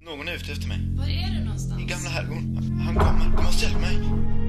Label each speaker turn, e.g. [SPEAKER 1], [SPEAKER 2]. [SPEAKER 1] Någon är ute efter mig.
[SPEAKER 2] Var är du någonstans?
[SPEAKER 1] Gamla herrgården. Han kommer. Du måste hjälpa mig.